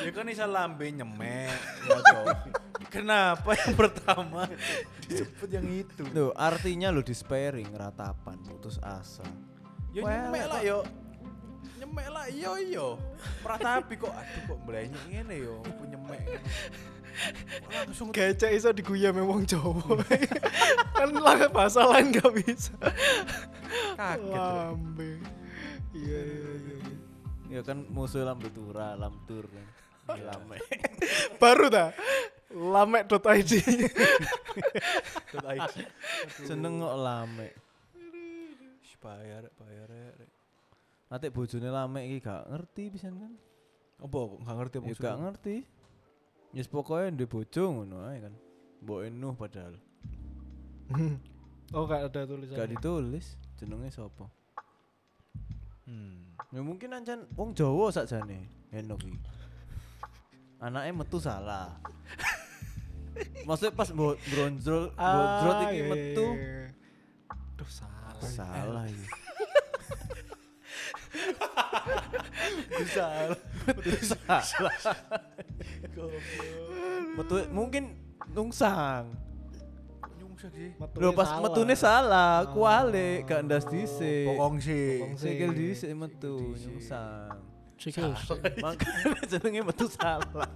S1: Ya kan bisa lambe nyemek. ya toh. Kenapa yang pertama disebut yang itu?
S2: Tuh, artinya lo despairing, ratapan, putus asa.
S1: Ya nyemek lah yo. Nyemek lah iya, yo yo. Meratapi kok aduh kok mblenyek ngene yo, aku nyemek. Kok Langsung Hmm.
S3: Gecek iso diguyam wong Jawa. kan lah bahasa lain gak bisa.
S1: kaget. loh.
S3: Lambe. Iya iya iya. iya.
S2: Ya kan musuh lambe tura, lam tur kan. Lame.
S3: Baru ta? Lamek.id.
S1: Tuh, ai.
S2: Jeneng kok lame.
S1: Sh, Bayar, bayar. rek.
S2: Nanti bojone lame iki gak ngerti pisan kan.
S1: Apa kok enggak ngerti
S2: Ya gak ngerti. Yes pokoknya ndek bojo ngono ae kan. Mbok enuh padahal.
S3: oh, gak ada tulisan.
S2: Gak ditulis jenenge sapa.
S1: Hmm.
S2: Ya mungkin ancen wong Jawa sakjane Henok iki. Anake metu salah. Maksudnya pas mbok bronjol,
S3: Ah,
S2: bronjol
S3: iya,
S2: iki
S1: Ah,
S2: metu
S1: iya,
S3: Duh, salah.
S2: salah iki.
S1: Bisa.
S2: Salah. Metu mungkin nungsang.
S1: Nyungsek sih.
S2: Lho pas metune salah,
S1: Ah.
S2: kualik gak ndas dhisik.
S1: Bokong sih.
S3: Bokong.
S2: Sikil
S3: Sik.
S2: dhisik metu
S1: dhisik.
S2: nyungsang.
S3: Sikil.
S2: Makanya jenenge metu salah.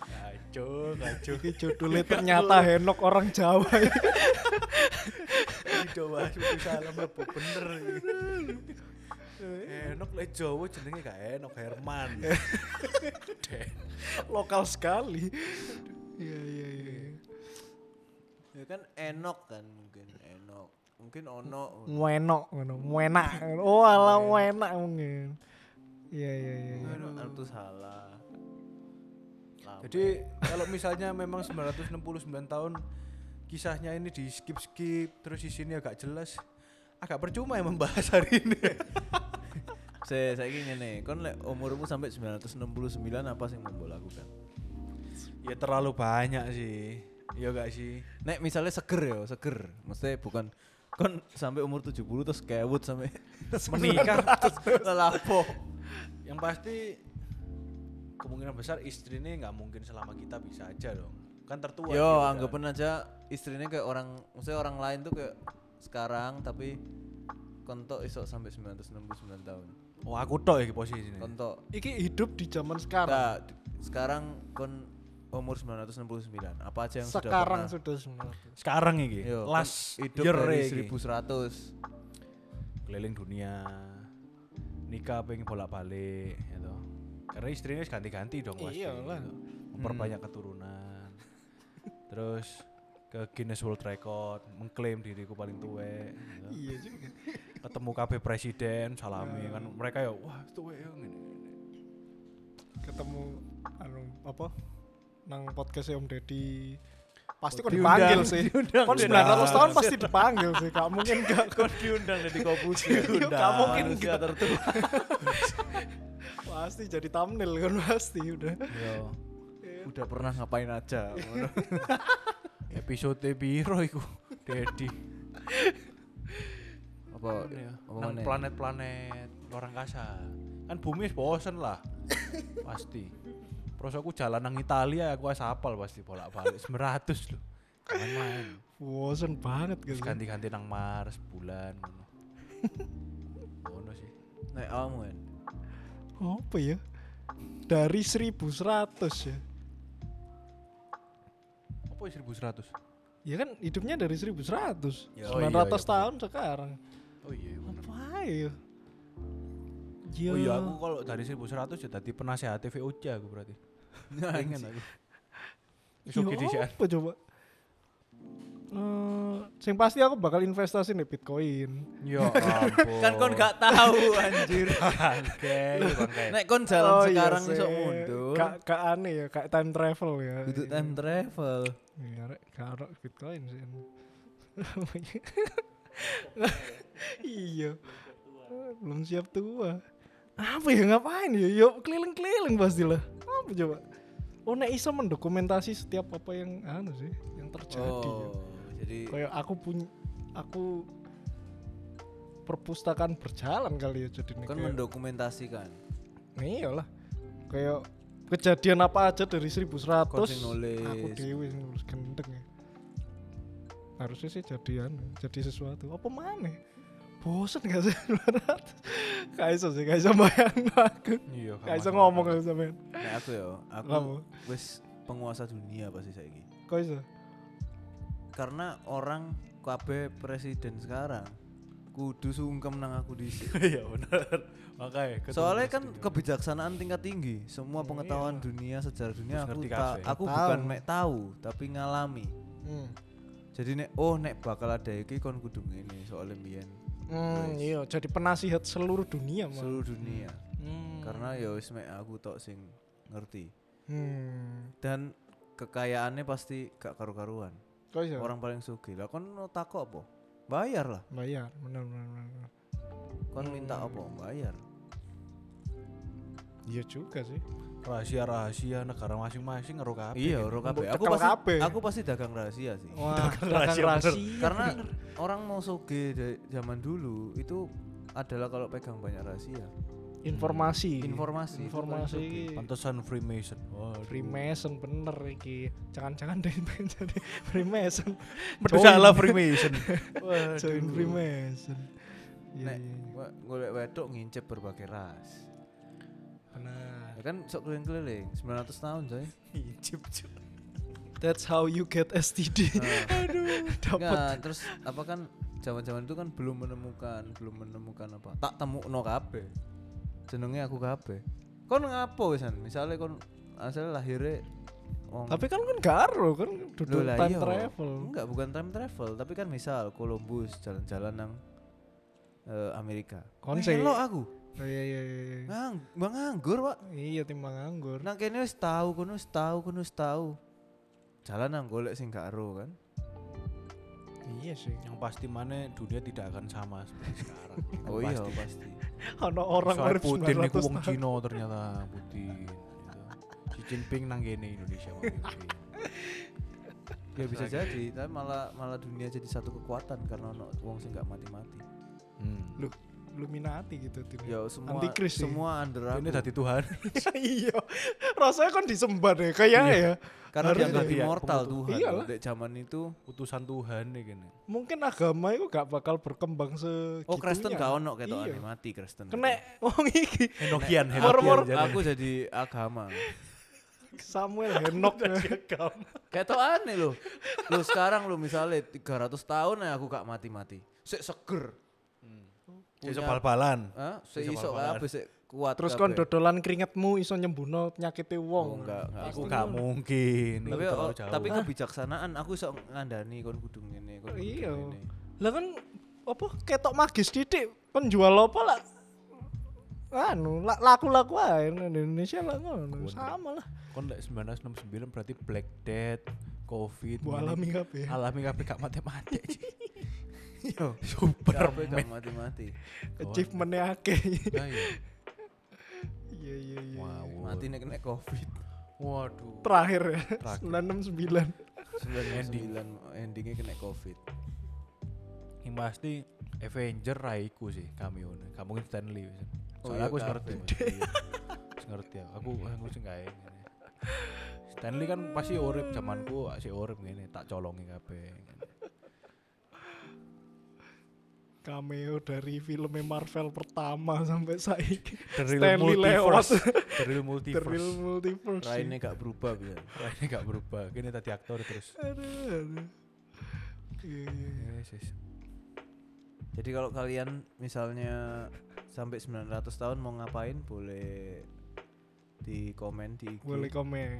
S1: Kacau, kacau.
S3: Iki judulnya ternyata Henok orang Jawa. ya.
S1: Ido mas, itu salam lepo bener. Enok lek Jawa jenenge gak enok Herman.
S3: Lokal sekali. Iya iya iya.
S2: Ya kan enok kan mungkin enok. Mungkin ono.
S1: Hmm.
S3: Muenok ngono, muenak. Oh, ala muenak mungkin. Iya iya iya.
S2: Enok metu salah. Sampai.
S1: Jadi kalau misalnya memang 969 tahun kisahnya ini di skip-skip terus isinya agak jelas agak percuma ya membahas hari ini.
S2: saya saya ingin nih, kon lek umurmu sampai 969 apa sih yang mau mbok lakukan?
S1: ya terlalu banyak sih. Iya gak sih?
S2: Nek misalnya seger ya, seger. Maksudnya bukan kon sampai umur 70 terus kewut sampai
S1: Menikah.
S2: terus lapo.
S1: Yang pasti kemungkinan besar istrinya nggak mungkin selama kita bisa aja dong. Kan tertua.
S2: Yo,
S1: dia udah.
S2: anggapan aja istrinya kayak orang, maksudnya orang lain tuh kayak sekarang tapi kontok isok sampai 969 tahun.
S1: Oh, aku tok iki posisinya.
S2: Kontok.
S3: Iki hidup di zaman sekarang.
S2: Nah, d- sekarang kon umur 969. Apa aja yang
S3: sekarang
S2: sudah
S3: sudah sebenarnya.
S1: Sekarang iki.
S2: pernah? Yo, kon
S1: last
S2: hidup
S1: year
S2: dari
S1: iki.
S2: 1100.
S1: keliling dunia nikah pengen bolak balik gitu karena istrinya harus ganti-ganti dong pasti
S3: Iyalah.
S1: gitu. memperbanyak keturunan terus ke Guinness World Record mengklaim diriku paling tua gitu.
S3: Iya juga.
S1: ketemu KB presiden salami kan mereka ya wah tua ya ngene, ngene."
S3: Ketemu anu apa? Nang podcast Om Deddy pasti kon
S1: diundang,
S3: dipanggil sih.
S1: diundang,
S3: Kon
S1: diundang.
S3: 900 tahun pasti dipanggil sih. Gak mungkin gak kon
S2: diundang dari Kobus
S3: Gak mungkin
S2: Nah, manusia
S3: gak. Pasti jadi thumbnail kan pasti udah.
S2: Yo.
S1: Iya.
S2: Udah pernah ngapain aja.
S1: episode biro iku Dedi
S2: apa
S1: ya
S2: apa
S1: nang
S2: mana?
S1: planet-planet luar angkasa kan bumi wis bosen lah pasti terus aku jalan nang Italia aku wis hafal pasti bolak-balik 900 loh main
S3: Bosen banget
S1: terus
S3: gitu.
S1: ganti-ganti nang Mars bulan ngono ngono sih
S2: Nek awakmu kan.
S3: Apa ya? Dari 1100 ya.
S1: apa ya 1100
S3: Ya kan hidupnya dari
S2: Ya,
S3: 1100.
S2: oh iya,
S3: 900
S2: iya,
S3: tahun sekarang.
S1: oh iya
S3: Apa ya? Ya.
S1: oh iya aku kalau dari 1100 ya tadi penasehat VOC aku berarti pengen aku
S3: Ya
S1: besok gini sih
S3: apa coba? Eh, sing pasti aku bakal investasi nih Bitcoin.
S1: ya ampun
S2: Kan kon gak tahu anjir.
S1: Bangke, bangke. Oh,
S2: Nek kon jalan
S3: iya
S2: sekarang
S3: sih.
S2: iso mundur.
S3: Kak kak aneh ya, kak time travel ya.
S2: Kudu time travel.
S3: Ya, rek, gak ada Bitcoin sih. iya. Belum siap tua. Apa ya ngapain ya? Yuk keliling-keliling pasti lah. Apa coba? Oh, nek iso mendokumentasi setiap apa yang anu sih, yang terjadi. ya.
S2: Oh, jadi
S3: kayak aku punya aku perpustakaan berjalan kali ya jadi nih
S2: kon
S3: kayak-
S2: mendokumentasikan.
S3: Nih, iyalah kayak kejadian apa aja dari 1100
S2: Kon sing nulis.
S3: aku dewi sing nulis gendeng ya harusnya sih jadian jadi sesuatu apa mana bosen gak sih 200 gak iso sih gak iso bayang aku
S1: iya
S3: gak iso
S1: masuk
S3: ngomong
S1: akal.
S3: gak iso bayang
S2: Nek aku ya,
S3: Apa?
S2: aku wis penguasa dunia pasti saiki.
S3: kok iso
S2: Karena orang KB presiden sekarang kudu sungkem nang aku dhisik.
S1: Iya benar. Makanya ketemu
S2: Soalnya
S1: mesti
S2: kan
S1: dia.
S2: kebijaksanaan tingkat tinggi, semua pengetahuan dunia sejarah dunia
S1: Iya.
S2: aku
S1: Terus ngerti
S2: ta-
S1: kabeh.
S2: aku
S3: Tahu.
S2: bukan mek tahu tapi ngalami.
S3: hmm.
S2: Jadi nek oh nek bakal ada iki kon kudu ngene soalnya mbiyen
S3: Hmm, iya jadi penasihat seluruh dunia mah
S2: seluruh dunia.
S3: Hmm.
S2: Karena ya wis mek aku tok sing ngerti.
S3: hmm.
S2: Dan kekayaannya pasti gak karu-karuan.
S3: kok iso
S2: Orang paling sugih. Lah kon no takok apa? Bayar lah.
S3: bayar benar benar benar
S2: Kon minta
S3: Hmm.
S2: apa? Bayar.
S3: iya juga sih
S1: rahasia-rahasia negara masing-masing ngeru kabeh.
S2: Iya, ora kabeh.
S3: kan. Untuk
S2: Aku
S3: cekel
S2: pasti
S3: kabeh.
S2: aku pasti dagang rahasia sih.
S3: wah
S1: rahasia,
S3: kan rahasia,
S1: bener.
S3: rahasia.
S2: Karena orang mau soge dari zaman dulu itu adalah kalau pegang banyak rahasia,
S3: informasi
S2: informasi, itu paling
S3: Iya, informasi
S2: soge.
S1: Pantesan Freemason.
S2: Oh,
S1: Wah,
S3: Freemason bener iki jangan-jangan dari jadi Freemason
S1: bersalah Freemason.
S3: Join- join Freemason
S2: Nek
S3: Iya, iya, iya.
S2: wa- golek wedok ngincip berbagai ras.
S3: benar
S2: Ya kan sok keliling-keliling 900 tahun coy.
S3: that's how you get STD aduh dapat
S2: Nah, Enggak, terus apa kan zaman-zaman itu kan belum menemukan, belum menemukan apa. Tak temukno kabeh. Jenenge aku kabeh. Kon ngapo wisan? Misale kon asal lahirnya wong
S3: tapi kan kan garo kan
S2: Loh
S3: duduk
S2: lah,
S3: time
S2: iya.
S3: travel
S2: Enggak, bukan time travel, tapi kan misal Columbus jalan-jalan nang eh, Amerika.
S3: Kon
S2: Wah,
S3: sih-
S2: elok aku.
S3: Oh, iya iya iya. iya.
S2: Ngang, bang nganggur pak.
S3: Iya timbang anggur.
S2: Nang kene wis tahu, kono wis tahu, kono wis tahu. Jalan nang golek sing gak ero kan.
S3: Iya sih.
S1: Yang pasti mana dunia tidak akan sama seperti sekarang. Yang
S2: Oh iya
S1: pasti.
S2: pasti.
S3: Ono orang
S1: Soal
S3: urip
S1: Putin niku
S3: 900
S1: wong
S3: tahun.
S1: Cina ternyata Putin. Gitu. Xi Jinping nang kene Indonesia Pak.
S2: Ya bisa jadi, tapi malah malah dunia jadi satu kekuatan karena ono wong sing gak mati-mati.
S1: Hmm.
S3: Loh, Illuminati gitu tim.
S2: Ya semua
S3: Antikris sih.
S2: semua under aku.
S1: Ini tadi Tuhan.
S3: iya. Rasanya kan disembah deh kayak
S2: Iya.
S3: ya.
S2: Karena
S3: Harus
S2: dianggap
S1: jadi ya,
S2: immortal
S1: pengutu.
S2: Tuhan.
S3: Iyalah.
S2: Dek zaman itu Oh,
S1: Utusan Tuhan nih kene.
S3: Mungkin agama itu gak bakal berkembang segitunya.
S2: Oh Kristen gak ono
S3: Iya.
S2: ketokane mati Kristen.
S3: Kena wong iki
S1: Henokian,
S3: Mor-mor.
S1: Henokian. jadi.
S2: Aku jadi agama.
S3: Samuel Henok
S2: Ketokane loh. Lu sekarang lu misalnya 300 tahun ya aku gak mati-mati. Sik seger.
S1: Jadi
S2: Punya-
S1: Hmm. bal-balan.
S2: Hah? Sik
S1: Bisa
S2: iso
S1: bal-balan.
S2: kabeh sik kuat.
S3: Terus kon
S2: kabeh.
S3: dodolan keringetmu iso nyembuno penyakite
S2: Oh,
S3: wong.
S2: enggak, enggak aku.
S1: Aku gak mungkin.
S2: Tapi
S1: Itu
S2: oh,
S1: terlalu jauh.
S2: tapi kebijaksanaan aku iso ngandani kon kudu ngene, kon kudu
S3: Iya.
S2: ngene.
S3: Lah kan apa ketok magis titik penjual apa lah anu la- laku-laku ae nang Indonesia lah ngono sama lah
S1: kon lek 1969 berarti Black Death, Covid,
S3: Bu alami kabeh.
S1: alami kabeh gak mati-mati.
S2: Iya.
S1: Super.
S2: Kabeh gak mati-mati.
S3: achievementnya akeh
S1: Nah, iya.
S3: iya iya iya
S1: Wow.
S2: Mati nek kena Covid.
S1: Waduh.
S3: terakhir ya
S1: Terakhir.
S3: 969
S2: 99 endingnya kena Covid.
S1: Yang pasti Avenger Raiku sih cameo nya. Gak mungkin Stanley. wis.
S2: Oh
S1: Soalnya
S2: iya,
S1: aku wis
S2: kabeh.
S1: ngerti. Mas. Iya. Wis ngerti aku. Aku aku sing gawe ngene. Stanley kan pasti urip zamanku si urip ngene tak colongi kabeh.
S3: cameo dari filmnya Marvel pertama sampai saiki
S1: The real
S3: Stanley lewat
S1: multiverse. The real
S3: The real
S1: multiverse.
S3: multiverse
S2: Raine gak berubah bisa.
S1: Raine gak berubah. Kene tadi aktor terus.
S3: aduh aduh iya iya iya.
S1: Yes, yes.
S2: Jadi kalau kalian misalnya sampai 900 tahun mau ngapain boleh di komen di IG.
S3: boleh komen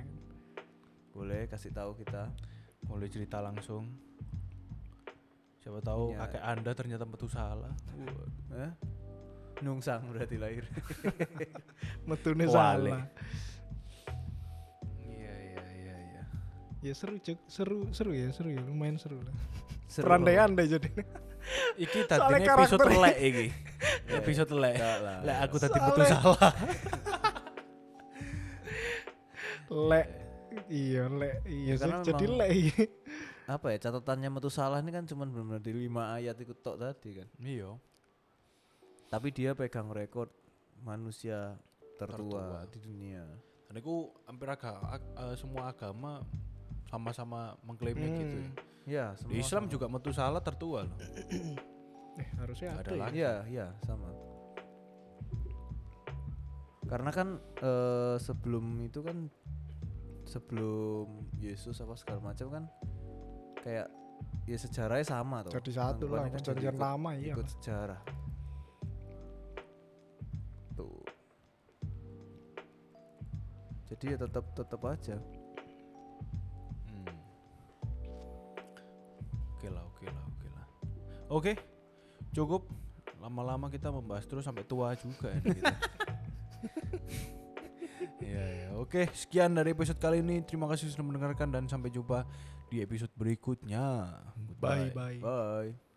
S2: Boleh kasih tahu kita.
S1: Mulai cerita langsung. Siapa tahu
S2: Iya.
S1: kakek Anda ternyata metu salah.
S2: Eh? Nungsang berarti lahir.
S3: metune
S1: Wale.
S3: salah
S1: Iya iya iya iya.
S3: ya seru cuk seru seru ya seru ya lumayan seru lah
S2: Seru banget.
S3: perandaian deh jadi
S1: Iki
S3: Soalnya
S1: tadi episode
S3: karakter-
S1: telek iki. Episode telek.
S2: Iya, Enggak lah.
S1: Lah aku tadi
S3: Soalnya-
S1: metu salah.
S3: lek iya lek iya
S2: Ya,
S3: sih,
S2: karena
S3: jadi
S2: memang-
S3: lek iya.
S2: Apa ya catatannya metu salah ini kan cuman benar-benar di 5 ayat itu tok tadi kan.
S1: Iya.
S2: Tapi dia pegang rekor manusia tertua,
S1: Tertua.
S2: di dunia.
S1: Dan itu hampir agak ag- eh, semua agama sama-sama mengklaimnya gitu ya.
S2: Ya, semua
S1: Di Islam
S2: sama.
S1: juga metu salah tertua loh.
S3: eh, harusnya
S1: Nggak ada
S3: ada ya.
S1: lagi.
S2: Iya, iya, sama. Karena kan eh, sebelum itu kan sebelum Yesus apa segala macam kan kayak ya sejarahnya sama tuh.
S3: jadi satu lah perjanjian
S2: ikut,
S3: lama iya
S2: ikut sejarah. Tuh. Jadi ya tetap tetap aja.
S1: Hmm. Oke lah, oke lah, oke lah. Oke. Cukup lama-lama kita membahas terus sampai tua juga ini kita. Iya, ya. oke. Sekian dari episode kali ini. Terima kasih sudah mendengarkan dan sampai jumpa di episode berikutnya.
S3: bye bye
S2: Bye.